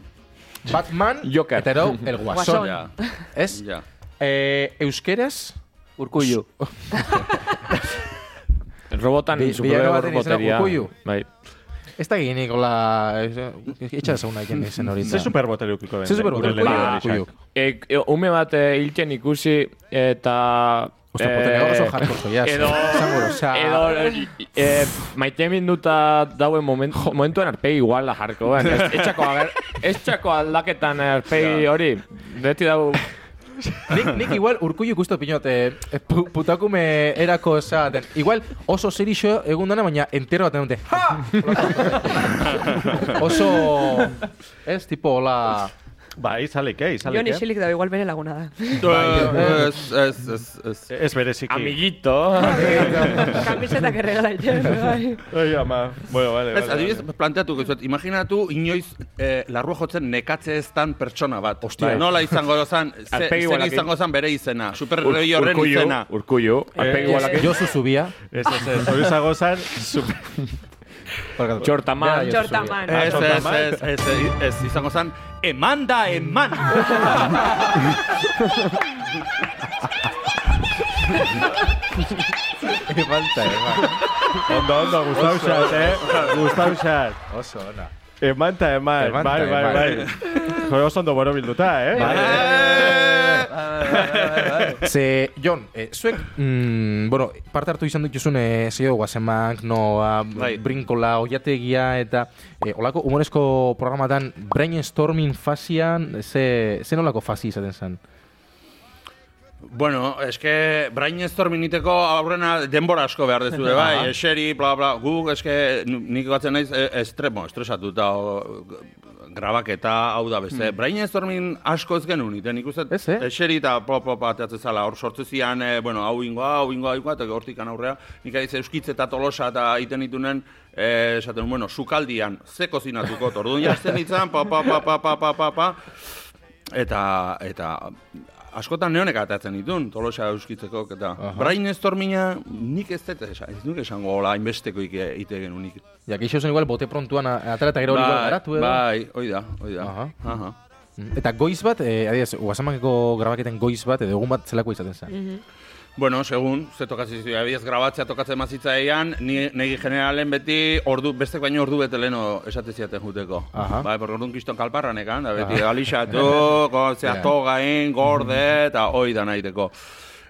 Batman,
Joker.
eta ero, el guasón.
Ja,
Ez?
ja.
Eh, euskeraz,
Urkullu.
Robotan,
Bi-
superhero
bilago baten izena
roboteria.
Urkullu.
Bai.
ez da ginen gola... Etxa dezauna egin izen
Mm.
hori.
Ze superbotere ukiko den.
Ze superbotere
gure
ukiko
lehendakariak.
den, Urkulluk.
E, e, ume bat e, hiltzen ikusi eta...
Osta,
eh,
potenea oso jarko joiaz.
Edo, edo e, maite minduta dauen moment, momentuen arpegi iguala jarko. Ben. Ez, etxako, ager, etxako aldaketan arpegi hori. Beti dau...
Nik, nik igual urkullu ikustu pinot, eh, pu, putakume erako esaten. Igual oso serixo egun dana, baina entero baten dute. Ha! oso... Ez, tipo, hola...
Bai, izalek, eh, izalek,
Jon
eh.
isilik dago, igual bere laguna da.
Eh, Ez, ez, ez, ez.
Ez bereziki.
Amiguito.
Kamisetak erregala egin, bai.
Ai, ama. Bueno, vale,
Ez,
vale,
adibidez,
vale.
planteatuko dizuet, imaginatu inoiz eh, larrua jotzen nekatze estan pertsona bat.
Ostia.
Bai. Nola izango zan, ze,
Alpegi
zen
igualak-
izango zan bere izena,
Ur-
superheroi horren
Urkullu,
izena.
Urkullu.
Eh,
Arpegi igualak.
Josu zubia.
Ez, ez, ez. Hori zago zan, super...
Txortaman.
Txortaman.
Ez,
Ah,
ez,
sorta,
ez, ez, ez, ez, izango zan, eman da, eman!
Falta, eh,
Ondo, ondo, gustau xat, eh? Gustau xat. Eh,
Oso, ona.
Eman ta eman.
Eman ta
Bai, bai,
eman.
bai. Jore, oso ondo boro bilduta, eh? Bai,
Eh,
Ze, Jon, eh, zuek, mm, bueno, parte hartu izan dituzun eh, zeo guazemak, noa,
Bai.
brinkola, oiategia, eta eh, olako humorezko programatan brainstorming fasian, ze, ze nolako fasi izaten zen?
Bueno, eske brainstorming iteko aurrena denbora asko behar dezu, de, bai, eseri, bla, bla, guk, eske nu- nik batzen naiz e, estremo, estresatuta, o, g- grabaketa, hau da beste. Brainstorming asko ez genuen, iten ikustet,
Hmm. Ez, eh?
eseri eta pop, pop, ateatzen zala, hor sortu zian, e, bueno, hau ingoa, hau ingoa, hau ingoa, eta hortik aurrea, nik adiz euskitze eta tolosa eta iten itunen, eh, esaten, bueno, sukaldian, ze kozinatuko, orduan jazten ditzen, pa, pa, pa, pa, pa, pa, pa, pa, Eta, eta askotan neonek atatzen ditun, tolosa euskitzeko, eta brainstorminga nik ez dut esan, ez nuke esango hola hainbesteko ike, ite genunik.
Ja, keixo zen igual bote prontuan a- atara eta gero
Ba,
hori igual garatu edo.
bai, hoi da, hoi da.
Aha.
Aha.
Eta goiz bat, eh, adiez, guazemakeko grabaketen goiz bat, edo egun bat zelako izaten zen.
Bueno, segun, ze tokatzen zizu, abiez grabatzea tokatzen mazitzaian, ni, negi generalen beti, ordu, bestek baino ordu bete leheno esate ziaten juteko.
Aha.
Bai, porque orduan kiston kalparranekan, da beti alixatu, gozea
Ja.
togain, gorde, eta hoi da nahiteko.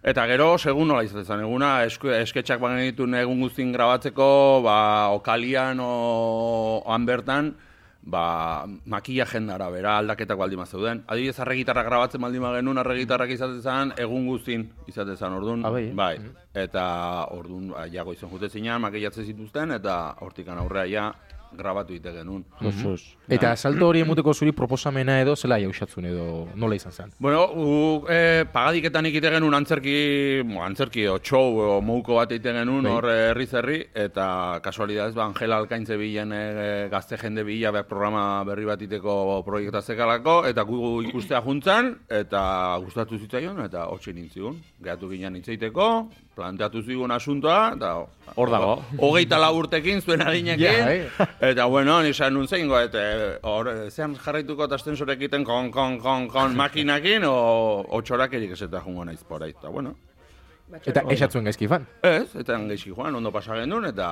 Eta gero, segun nola izaten zen, eguna, esku, esketxak bagen dituen egun guztin grabatzeko, ba, okalian, o, oan bertan, ba, makia jendara, bera aldaketak baldin zeuden. Adibidez, arregitarra grabatzen baldin genuen, arregitarrak izaten zen, egun guztin izaten zen, orduan,
Ah, bai, eh?
bai. Eta orduan, ba, jago izan jute zinean, makillatzen zituzten, eta hortikan aurrea ja, grabatu ite genuen.
Eta salto hori emuteko zuri proposamena edo zela jausatzun edo nola izan zen.
Bueno, guk eh, pagadiketan ikite genuen antzerki, mo, antzerki o txou o mouko bat egiten genuen hor eh, herri zerri, eta kasualidadez, ba, Angela Alkaintze bilen eh, gazte jende bila be, programa berri bat iteko proiekta zekalako, eta gu ikustea juntzan, eta gustatu zitzaion, eta hotxe nintzigun. Gehatu ginen itzeiteko, planteatu zigun asuntoa, eta...
Hor dago. bai.
Hogeita lau urtekin, zuen adinekin,
Ja, eh.
Eta bueno, nizan nuntzein goet, eh, hor, eh, zean jarraituko eta estensorek egiten kon, kon, kon, kon, makinakin, o, o txorakerik ez eta jungo naiz pora, eta bueno.
Eta esatzuen gaizki fan.
Ez, eta geizki joan, ondo pasa genuen, eta...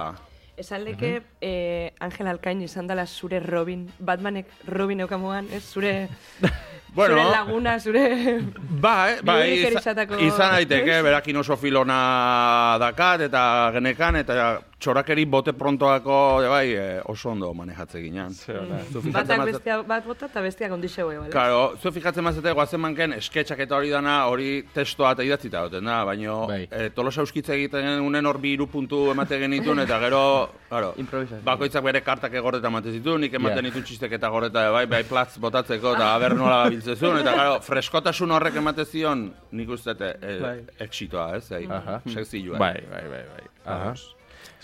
Esan leke, eh, Angel Alkain izan dela zure Robin. Batmanek Robin eukamuan, ez? Zure,
Bueno.
zure laguna, zure...
Bai, bai,
Biderik
izan,
erisatako-
izan daiteke, berakin oso filona dakat, eta genekan, eta txorakeri bote prontoako, eh, bai, eh, oso ondo manejatze ginean. Zu fijatzen
Batak
bazet-
bestea bat bota eta besteak ondixeu eo, bale?
Claro, zu fijatzen mazete guazen manken esketxak eta hori dana, hori testoa eta idatzita duten da, baina
Bai.
e, tolosa euskitze egiten unen hor bi hiru puntu emate genitun, eta gero, claro,
Improvisazio.
bakoitzak bere kartak egorreta ematen zituen, nik ematen ditun txistek eta goreta, bai, bai, platz botatzeko, eta aber nola biltzezun, eta claro, freskotasun horrek emate zion, nik ustete, e,
Bai.
exitoa, ez, e, sexilua.
Bai, bai, bai, bai. Ados.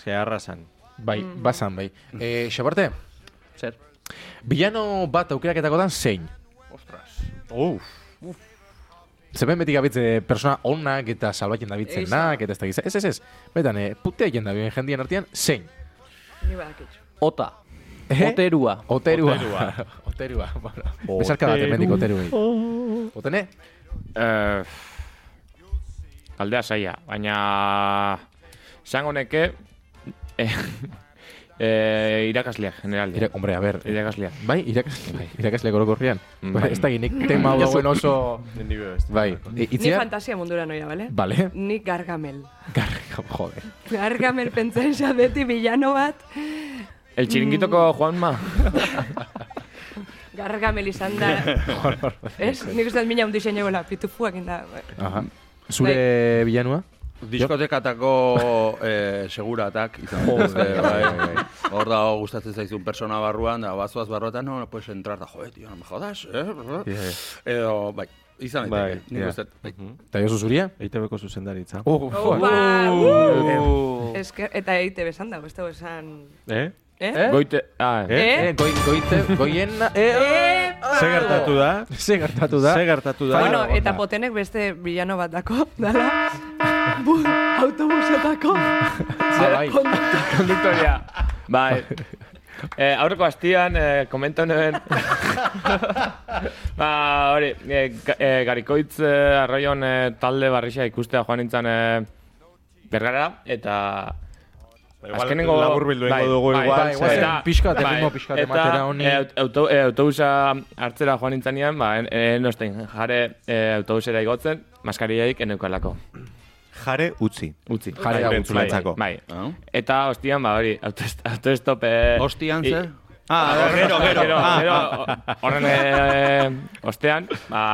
Ez que arrasan.
Bai, bazan, bai. Eh, Xabarte,
Zer.
Bilano bat aukeraketakotan zein?
Ostras.
Uf. Uf. Zeben beti gabitze persona onak eta salbatzen dabiltzenak, eta ez da giza. Ez, ez, ez. Betan, e, putea jenda bien jendien artean, zein?
Ni badakitxu.
Ota.
Eh?
Oterua.
Oterua.
Oterua.
Oterua. Bueno, Besarka bat emendik oteruei. Otene?
Eh, aldea saia, baina esango neke eh, eh, irakasleak generalde.
Ira, hombre, a ber.
irakasleak.
Bai, irakas, bai, irakasle gorokorrian.
Mm,
Bai,
bai.
ez da ginik tema hau dagoen oso... Bai, I-
Ni
itzia...
fantasia mundura noia, bale?
Vale.
Ni gargamel.
Garrika, jode.
Gargamel pentsatzen za beti bilano bat.
El chiringuitoko Juanma.
Gargamel izan da. Ez? Nik uste dut mina un diseño gola, pitufuak inda.
Aha. Bai. Zure bilanua?
Diskotekatako eh, seguratak izan. Joder, bai, bai. Hor da gustatzen zaizun persona barruan, da bazoaz barruetan, no, no puedes entrar, da, joder, tío, no me jodas, eh? Edo, bai, izan
Bai,
daiteke. Nik
ja.
uste, bai.
Eta jozu zuria?
Eitebeko zuzendaritza.
Oh,
Opa! Uh!
Uh,
Esker, eta eite besan dago, ez dago esan...
Eh?
Eh?
Goite, ah,
Eh?
Eh, goi, goite, goien... Eh, oh.
Eh?
Ze gertatu da?
Ze gertatu da?
Ze gertatu da?
Bueno, eta potenek beste bilano bat dako, dala, bu, autobusetako,
Ah, bai.
Konduktoria. Bai. Eh, aurreko hastian, eh, komenta honen... ba, hori, eh, ga- eh, garikoitz eh, arroion eh, talde barrixa ikustea joan nintzen eh, bergara, eta...
Azkenengo laburbildu
bai,
egingo dugu
bai,
igual.
bai, guazen
ze-
eta-
pixkat,
bai,
erritmo pixkat
eta,
ematera honi.
eh, aut- auto- eh, autobusa hartzera joan nintzanean, ba, en, enosten, jare eh, autobusera igotzen, maskariaik eneukalako.
Jare utzi.
Utzi.
Jarea
Bai,
gutzulentzako.
Bai. bai.
Ah.
Eta hostian, ba, hori, autoest- autoestop... Eh,
Hostian,
i-
ze? Ah, gero, gero.
Gero,
Ah,
gero, o- horren eh, ostean, ba,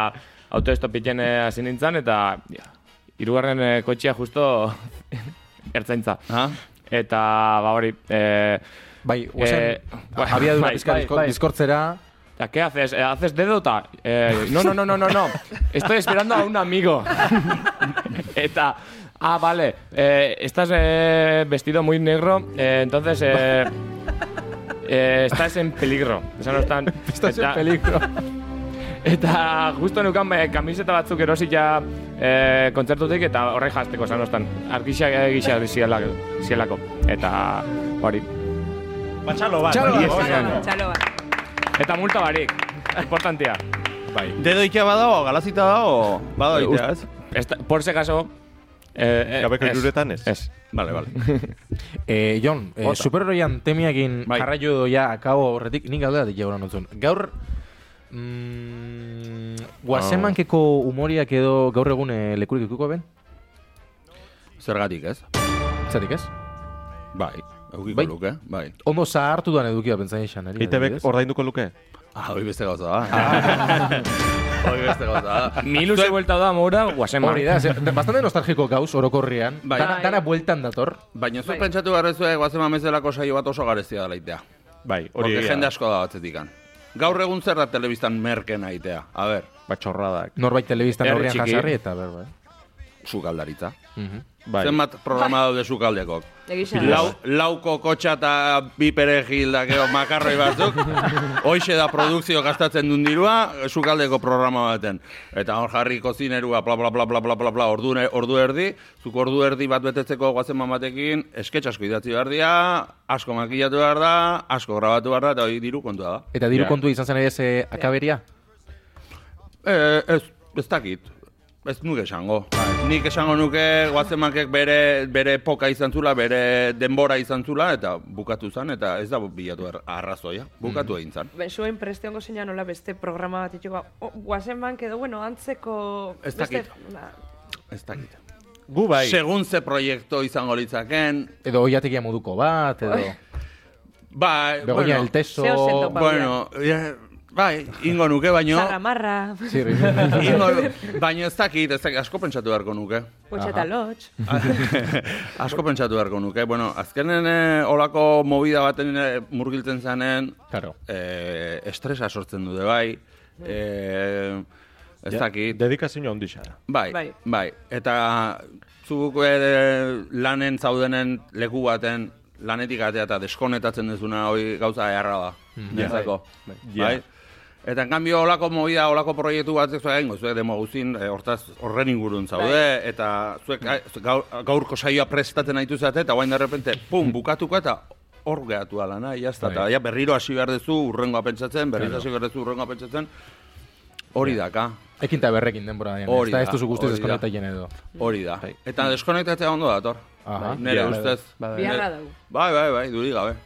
autoestop iten eh, hasi nintzen, eta ja, hirugarren eh, kotxia justo ertzaintza.
Ah,
Eta, ba, hori, eh,
Bai, guazen...
Eh, bai,
Abiadura
bai,
pizka
bai,
disko-
bai.
diskortzera...
¿a ¿Qué haces? Eh, ¿Haces dedota? Eh, no, no, no, no, no, no. Estoy esperando a un amigo. Eta, ah, vale. eh, estás eh, vestido muy negro, eh, entonces eh, eh, estás en peligro. Eso no están.
Estás en
Eta-
peligro.
Eta justo neukan eh, kamiseta batzuk erosi ja eh, kontzertutik eta horre jazteko esan ostan. Arkixak egisa zielako. Eta hori.
Batxalo bat.
Txalo bat.
txalo, txalo bat.
Eta multa barik. Importantea.
Dedo ikia badao, galazita dao, badao
Eh,
itea, ez?
Esta, por si acaso... Eh, eh,
Gabeko
ez.
iruretan ez.
Ez.
Vale, vale.
Eh, Jon, eh,
Bota.
superheroian temiakin
Bai.
jarraio edo ja akabo horretik, nik galdera dite gauran dutzun. Gaur, mm, guazemankeko humoriak edo gaur egun eh, lekurik ikuko ben?
Zergatik, ez?
Zatik ez?
Bai, eukiko
Bai.
luke, bai.
Ondo zahartu duan edukia pentsain esan, eri?
Eitebek ordainduko luke?
Ah, hoi beste gauza da. Hoi beste gauza da.
Milu se vuelta da mora, guasema.
Hori da, ze- bastante nostalgiko gauz orokorrian.
Bai.
Dana, dana bueltan dator.
Baina zu
Bai.
pentsatu behar duzu egoazema mezelako saio bat oso garezia dela itea.
Bai, hori
Porque
egia
jende
da.
asko da batzetik Gaur egun zer da telebistan merkena itea. A ber,
Batxorradak.
Norbait telebistan
Herri
aurrean
txiki.
jasarri eta bai. berba.
sukaldaritza.
Bai.
Zenbat programa daude sukaldekok.
Egisa.
Lau, lauko kotxa eta bi perejil da gero makarroi batzuk. Hoixe da produkzio gastatzen duen dirua, sukaldeko programa baten. Eta hor jarri kozinerua, bla, bla, bla, bla, bla, bla, bla, ordu, ne- ordu erdi. Zuk ordu erdi bat betetzeko guazen batekin, esketxasko idatzi behar dira, asko makillatu behar da, asko grabatu behar da, eta hori diru kontua da.
Eta diru
Ja.
kontua izan zen ere ze akaberia?
Eh, ez, ez dakit. Ez nuke esango. Nik esango nuke guazemakek bere, bere poka izan zula, bere denbora izan zula, eta bukatu zen, eta ez da bilatu ar- arrazoia. Bukatu egin zen.
Ben, zuen prestiongo zeina nola beste programa bat itxuko, oh, guazen bank edo, bueno, antzeko...
Ez
beste-
dakit.
Na,
Ez dakit.
Gu bai.
Segun ze proiektu izango litzaken,
Edo oiategia moduko bat, edo...
bai,
Begoña
bueno,
el teso...
Zeo zeto pa-
bueno, eh, bai, ingo nuke, baino,
Zarramarra,
Sí, ri-
ingo, baino ez dakit, ez dakit, asko pentsatu beharko nuke.
potxa eta lotx.
Asko pentsatu beharko nuke. Bueno, azkenen eh, olako movida baten eh, murgiltzen zanen,
Claro.
eh, estresa sortzen dute bai, eh, ez dakit,
Dedikazio handixa da.
bai,
Bai.
bai, eta zuk eh, lanen zaudenen leku baten lanetik atea eta deskonetatzen dezuna hori gauza eharra da.
Mm.
Niretzako.
Bai.
Bai. Eta en cambio holako movida, holako proiektu bat ez egingo, zuek demo guztin eh, hortaz horren ingurun zaude eta zuek a- zu- gaur, gaurko saioa prestatzen haitu zate eta orain de repente pum bukatuko eta hor gehatu da lana, ja está, eta ja berriro hasi behar duzu urrengoa pentsatzen, berriro
Claro.
hasi behar duzu urrengoa pentsatzen. Hori daka.
Ekin eta berrekin denbora dañan. Hori da, ez duzu guztiz
hori da.
deskonektatien edo.
Hori da. Eta deskonektatzea ondo dator.
Bai. Mm. Aha.
Nere
Biarra
ustez.
da.
Biarra
Nere- Bai, bai, bai, duri gabe.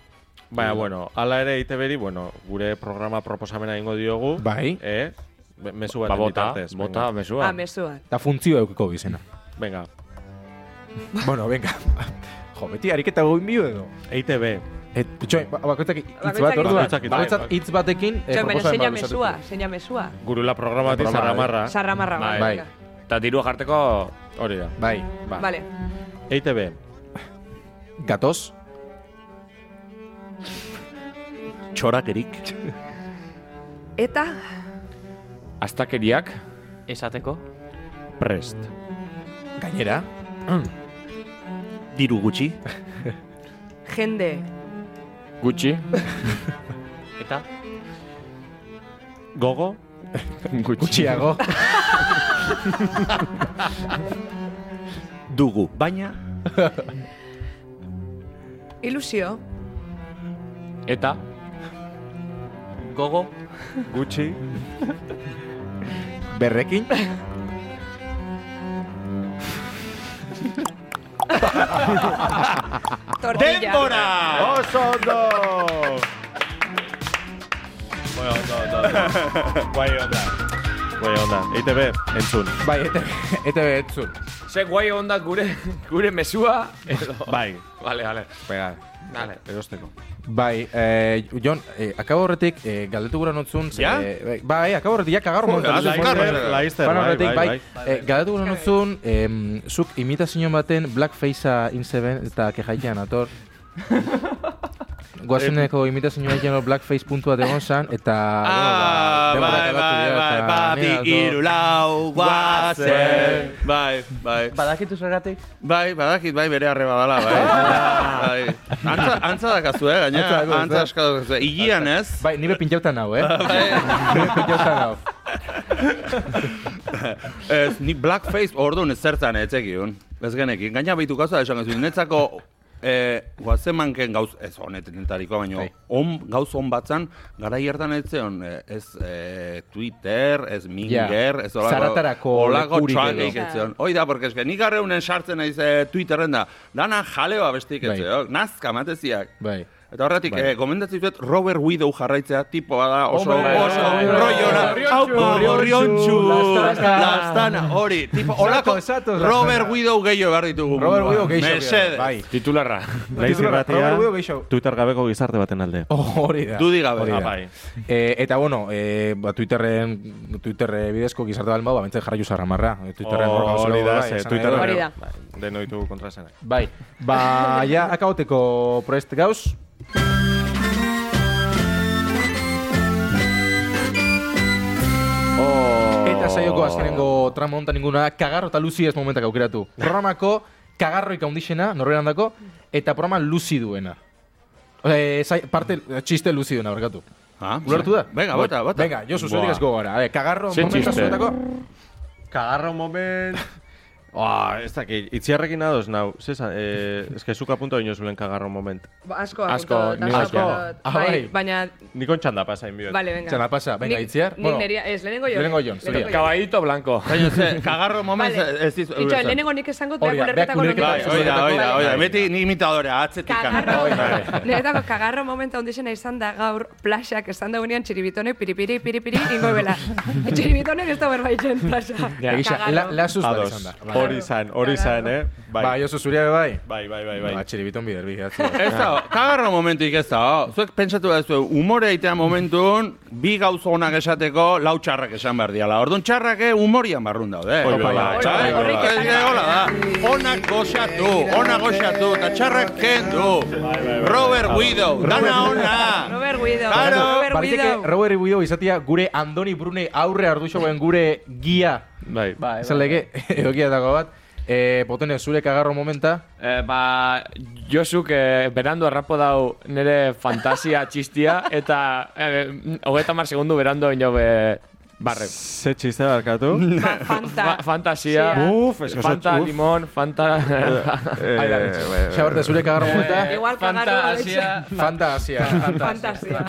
Baina, bueno, ala ere ITB-ri, bueno, gure programa proposamena ingo diogu.
Bai.
Eh? Be- Mezu bat
Ba, bota, bota, mesua.
Ah, mesua.
Eta funtzioa eukiko bizena.
Venga.
bueno, venga. jo, beti ariketa goin bio edo.
EITB.
Et, txoin, ba- bakoitzak hitz
Bakoitzak
bat,
hitz bat.
orduan.
Bakoitzak hitz bat.
Bakoitzak hitz batekin eh,
Txo, baina
proposamen
zeina
bat luzatuko.
mesua, zeina mesua.
Gurula programa bati
Programa,
zarramarra.
Zarramarra, bai.
Bai.
venga.
Eta diru jarteko...
Hori da.
Bai.
Ba.
Vale.
EITB.
Gatoz.
Txorakerik.
Eta,
Aztakeriak,
Esateko.
Prest.
Gainera.
Diru gutxi.
jende,
gutxi,
Eta
Gogo.
Gutxiago.
Dugu. Baina.
ilusio,
eta
gogo.
Gutxi.
Berrekin.
tortilla.
Oso ondo! Bai, ondo, ondo, ondo. Bai, onda. Bai, onda. EITB, entzun.
bai, eta, eta etzun.
Ze guai onda gure, gure mesua, edo...
Bai.
Vale, vale.
Pega.
Vale.
Erosteko.
Bai, eh, Jon, eh, akabo horretik, eh, galdetu gura notzun. ze-
Ja?
eh, bai, akabo horretik, jak agarro montan.
Laizter,
duzu montan.
laizter,
Fan
bai,
horretik,
bai,
bai.
bai.
Eh, galdetu gura notzun, em, zuk imitazio baten blackfacea inzeben eta kejaitean ator. Guazeneko imitazio baten blackface puntua degon zan, eta...
Ah,
bueno, ba, Bai, denborak
bai,
aldatu
bai,
dira, eta
bai,
nire
bati
aldo-
irulau guazen. Bai, bai.
Ba-
Badakitu zergatik?
Bai, badakit, bai, bere arreba dala, bai. bai. Antza, antza dakazu, eh,
Ah. Antza
gaina,
dakazu,
antza
eh?
aska dakazu. Igian ez,
Bai, nire pinjautan hau, eh?
Bai.
nire pinjautan hau.
ez, ni blackface orduan ez zertan ez egion. Ez genekin, gaina behitu gauza esan gazu, netzako eh, guazen manken gauz, ez honetenetarikoa, baino,
Bai.
on, gauz on batzan, gara hiertan ez zeon, eh, ez eh, Twitter, ez Minger, ez olako,
Zaratarako
olako
lekurik
txuakeik
edo.
ez zeon. Hoi da, porque eske, nik arreunen sartzen naiz eh, Twitterren da, dana jaleo abestik ez
Bai.
zeon, nazka mateziak.
Bai.
Eta horretik, eh, gomendatzen dut Robert Widow jarraitzea tipo da oso
Hombre,
oso
hombre,
roiona.
hombre,
Hau
gorriontsu,
gorriontsu,
lastana.
lastana, hori, tipo holako
esatuz, lastana.
Robert Widow gehiago behar ditugu. Ah.
Robert Widow
munduan.
gehiago.
Mesedez.
Bai.
Titularra.
Naiz irratia,
Robert Guido gehiago.
Twitter gabeko gizarte baten alde.
Hori da.
Dudik gabe.
Hori da.
Ah, bai.
Eh, eta bueno, eh, ba, Twitterren, Twitter bidezko gizarte balmau, ba, bentzen jarraitu zarramarra. Eh, Twitterren hor gauzela
Oh, Hori da,
bai,
ze,
esan
Twitter
nahi dut.
Hori da.
denoitu kontrasenak.
Bai. Ba, ja, akauteko prest gauz. Eta saioko azkenengo tramo honetan inguna kagarro eta luzi ez momentak aukeratu. Programako kagarroik handixena, norberan dako, eta programa luzi duena. Eh, zai, parte, txiste luzi duena, barkatu.
Ah,
Ulertu da?
Venga, bota, bota.
Venga, Josu, zuetik
Buah.
asko gara. A ver, kagarro
Ze
momentu
txiste.
zuetako.
Kagarro moment... Ah, ez dakit, itziarrekin ados nau. Zesa, eh, eske zuka punto ino zulen kagarro moment.
Ba, Asko,
Asko,
apuntatu,
nik
asko.
asko.
apuntatu.
Ah,
Bai,
bai.
baina,
Nikon txanda pasain biot.
vale, venga.
Txanda pasa, venga,
Nik-
itziar.
Nik
Bueno.
neria, ez, lehenengo jo.
Lehenengo jon, zurea.
Caballito blanco.
Baina, ze, kagarro moment
Vale.
ez dizu.
Itxo, lehenengo nik esango,
Hori da,
beak
beak
ulerketako
ulerketako
Bai,
nonbait.
hori da, hori da, hori da.
Bai.
Beti ni imitadorea, atzetik.
Kagarro, niretako kagarro momenta ondixena izan da gaur plaxak esan daunean txiribitonek piripiri, piripiri, ingo bela. txiribitonek ez da berbaitzen plaxa.
Ja, gisa, la, lasuz bat
Ados.
izan da. Bai.
Hori zan, hori zan, eh? Bai,
Ba, Josu, zurea be bai.
bai, bai, bai.
Ba,
bai.
txiribiton bider, bider.
Ez da, kagarro momentuik ez da. oh. Zuek pentsatu da zuen, umore eitea momentun, bi gauza onak esateko, lau txarrak esan behar diala. Orduan txarrak eh, humorian barrun daude.
Hoi, bai,
Hola,
bai,
txarrak,
bai, bai,
ez da, hola da. Onak goxatu, onak goxatu, eta txarrak kendu. Robert Widow, dana ona.
Robert Guido.
Claro.
Robert
Bariteke
Guido.
Robert Guido izatia gure Andoni Brune aurre arduxo gure gia.
Bai.
Bai,
Zaleke, egokia dago bat. E, botene, zurek agarro momenta.
Eh, ba, Josuk eh, berandu arrapo dau nire fantasia txistia eta eh, hogeita mar segundu berandu ino be, barre.
Ze txiste barkatu?
Fanta. fantasia.
Uf, es que oso-
Fanta,
uf.
limon, fanta...
Eh,
Ai, da,
eh,
bitxo.
eh,
Xabarte, zurek agarro momenta.
Igual
Fanta,
kagarro
Asia,
Eh. Fanta hasia.
Fantasia.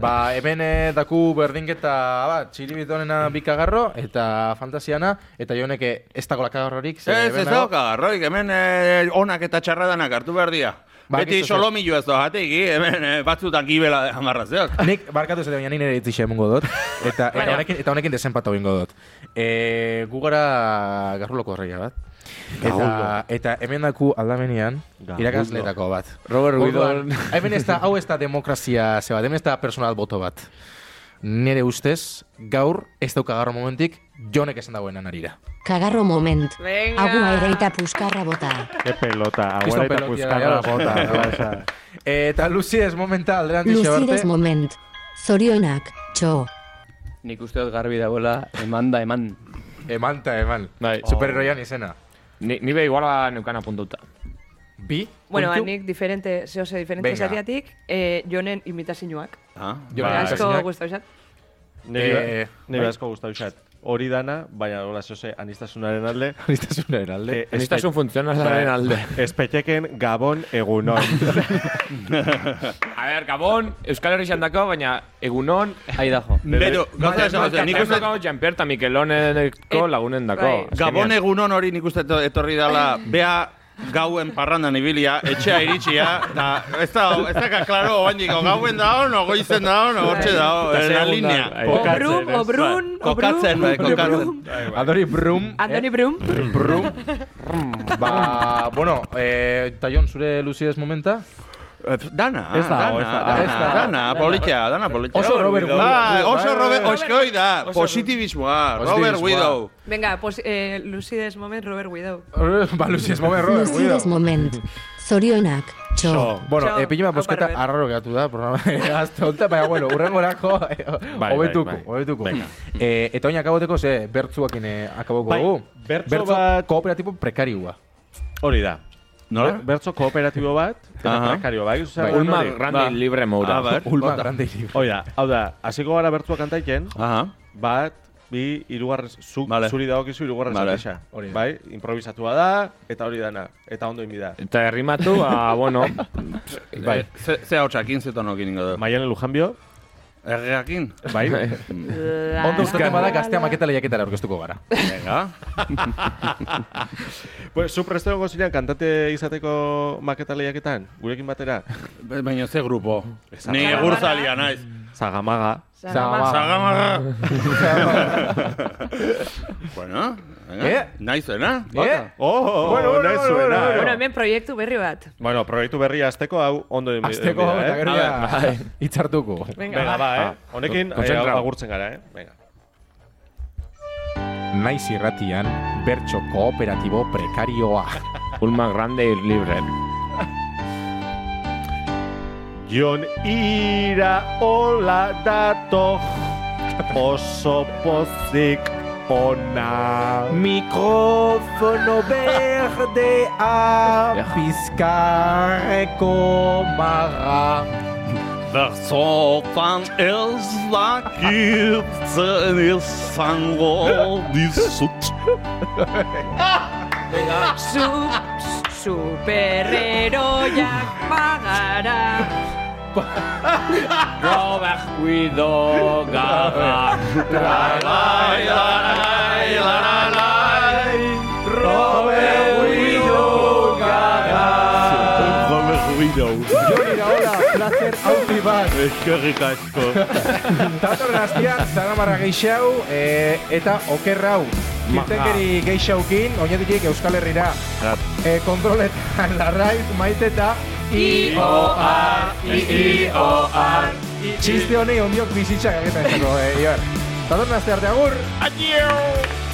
ba, hemen eh, daku berdinketa bat, txiribitonena bikagarro eta fantasiana, eta jonek eh, ez dago lakagarrorik. ze
Ez, ez
hemen dago-
dauka, garroik, hemen eh, onak eta txarradanak hartu behar dira.
Ba,
Beti
kisto zer.
solomillo ez doatik, hemen eh, batzutan gibela amarrazeok.
Nik barkatu ez baina ni nire itzixe emungo dut. Eta, eta, honekin, eta honekin desenpatu egingo dut. E, gu gara garruloko horreia bat. Eta, eta hemen daku aldamenean irakasletako bat.
Robert
Orduan,
Guidon.
hemen ez da, hau ez da demokrazia ze bat, hemen ez da personal boto bat. Nire ustez, gaur ez dauka garro momentik, jonek esan dagoen anarira.
Kagarro moment.
Venga.
Agua ere eta puskarra bota.
Ke pelota,
Kriston
agora Ah, eta
pelotia,
puzkarra
ja.
bota. pasa.
Eta luziez momenta alderan
Lucides moment. Zorionak, txo.
Nik uste dut garbi dagoela, eman da eman.
Emanta, eman.
Bai.
Superheroian izena.
Ni, ni be iguala neukan apuntuta.
Bi?
Bueno,
puntu?
nik diferente, zehose diferente
Venga.
zatiatik, eh, jonen imitazioak.
Ah,
Jonen
Ba, asko
imitazioak.
gustau izan.
Nire
Eh,
nire ba- asko gustau izat. Hori dana, baina hola zoze, anistasunaren alde.
Aniztasunaren alde.
Eh,
Anistasun funtzionalaren
Bai.
Ba.
alde.
Espeteken Gabon egunon.
A ber, Gabon, Euskal Herri dako, baina egunon...
Ahi dajo.
Bero, gauza esan dut, nik uste
dut... Jamper eta Mikeloneko
Eh,
lagunen dako.
bai.
Gabon egunon hori nik uste eto- etorri dala, bea gauen parrandan ibilia, etxea iritsia, da, ez da, ez da, klaro, oainik, o gauen da ono, goizen da ono, hortxe da, o,
Eta
en la
segundan,
linea.
bai.
Obrun, obrun,
Kokatzen, bai,
obrun,
kokatzen.
obrun.
Adori Brum. eh,
Andoni Brum,
Brum. ba, bueno, eh, Tallón, zure luzides momenta?
Eh, Dana,
Ez da,
dana,
ez da,
dana,
ez da.
dana, politia, dana, politia.
Oso Robert Widow.
Bai, oso Robert,
Bai.
osko hoi da, positibismoa, Robert
Positibismoa.
Widow.
venga, pues, eh, Lucides Moment, Robert Guido.
Eh,
ba, luzides moment, Robert.
Lucides
cuidado.
moment. Zorionak, txo.
Bueno,
Txo,
eh, pilima
hau
bosketa
parbe.
arraro gehatu da, programa azte honta, baina, bueno, urrengorako, eh,
bai,
hobetuko,
bai.
hobetuko. Eh, eta oin akaboteko, ze, bertzuakin eh, akaboko
Bai,
dugu.
bertso bat-
kooperatibo prekarioa.
Hori da.
Nola?
Bertzo kooperatibo bat, eta
Aha.
prekario bai. Bai,
Bai,
Ulma grande
Ba.
y libre moura.
A ber,
Ulma
bota.
grande iri.
Hoi da, hau da, hasiko gara bertua kantaiken,
Aha.
bat, bi, irugarrez, zu,
Vale.
zuri dagokizu irugarrez
Vale.
vale.
Hori da.
Bai, improvisatua da, eta hori dana, eta ondo inbida.
Eta errimatu, ba, bueno,
Bai. Ze, ze hau txakin, ze tonokin ingo dugu.
Maialen Lujanbio,
Erreakin?
bai,
Ondo ustetan bada gaztea maketa lehiaketara orkestuko gara.
Venga.
pues, zu presto egongo ziren kantate izateko maketa lehiaketan, gurekin batera,
Baina ze grupo. Ni egurzalia naiz.
Zagamaga.
Zagama.
Zagamarra. bueno, venga.
Eh?
Naizena.
Eh?
Oh, bueno, bueno, bueno,
Bueno, hemen proiektu berri bat.
eh. Bueno, proiektu berria azteko hau ondo inbida.
Azteko, eta
eh?
gero ja hitzartuko.
Venga,
Venga, ba, eh?
Ah,
Honekin, eh,
konzentrau.
agurtzen gara, eh? Venga.
Naiz irratian, bertso kooperatibo prekarioa.
Ulma grande y libre.
Jon ira hola dato oso pozik ona.
Mikrofono berdea pizkarreko marra.
Bertzotan ez dakitzen izango dizut.
Zu, superheroiak bagara.
Robert Guido Gaga.
Lai, lai, lai, lai, lai, Robert Guido gaga. Robert Guido.
Joni Iraola, placer hauti bat.
Eskerrik asko.
Datorren astian, zanamarra geixau eh, eta okerrau.
Ah.
Kirtenkeri geixaukin, oinetik Euskal Herrira. Eh, kontroletan larraiz, maite eta I-O-R, I-I-O-R. Txiste honei ondiok bizitzak egiten zako, eh, Ior. Datorren aste arte agur.
Adiós.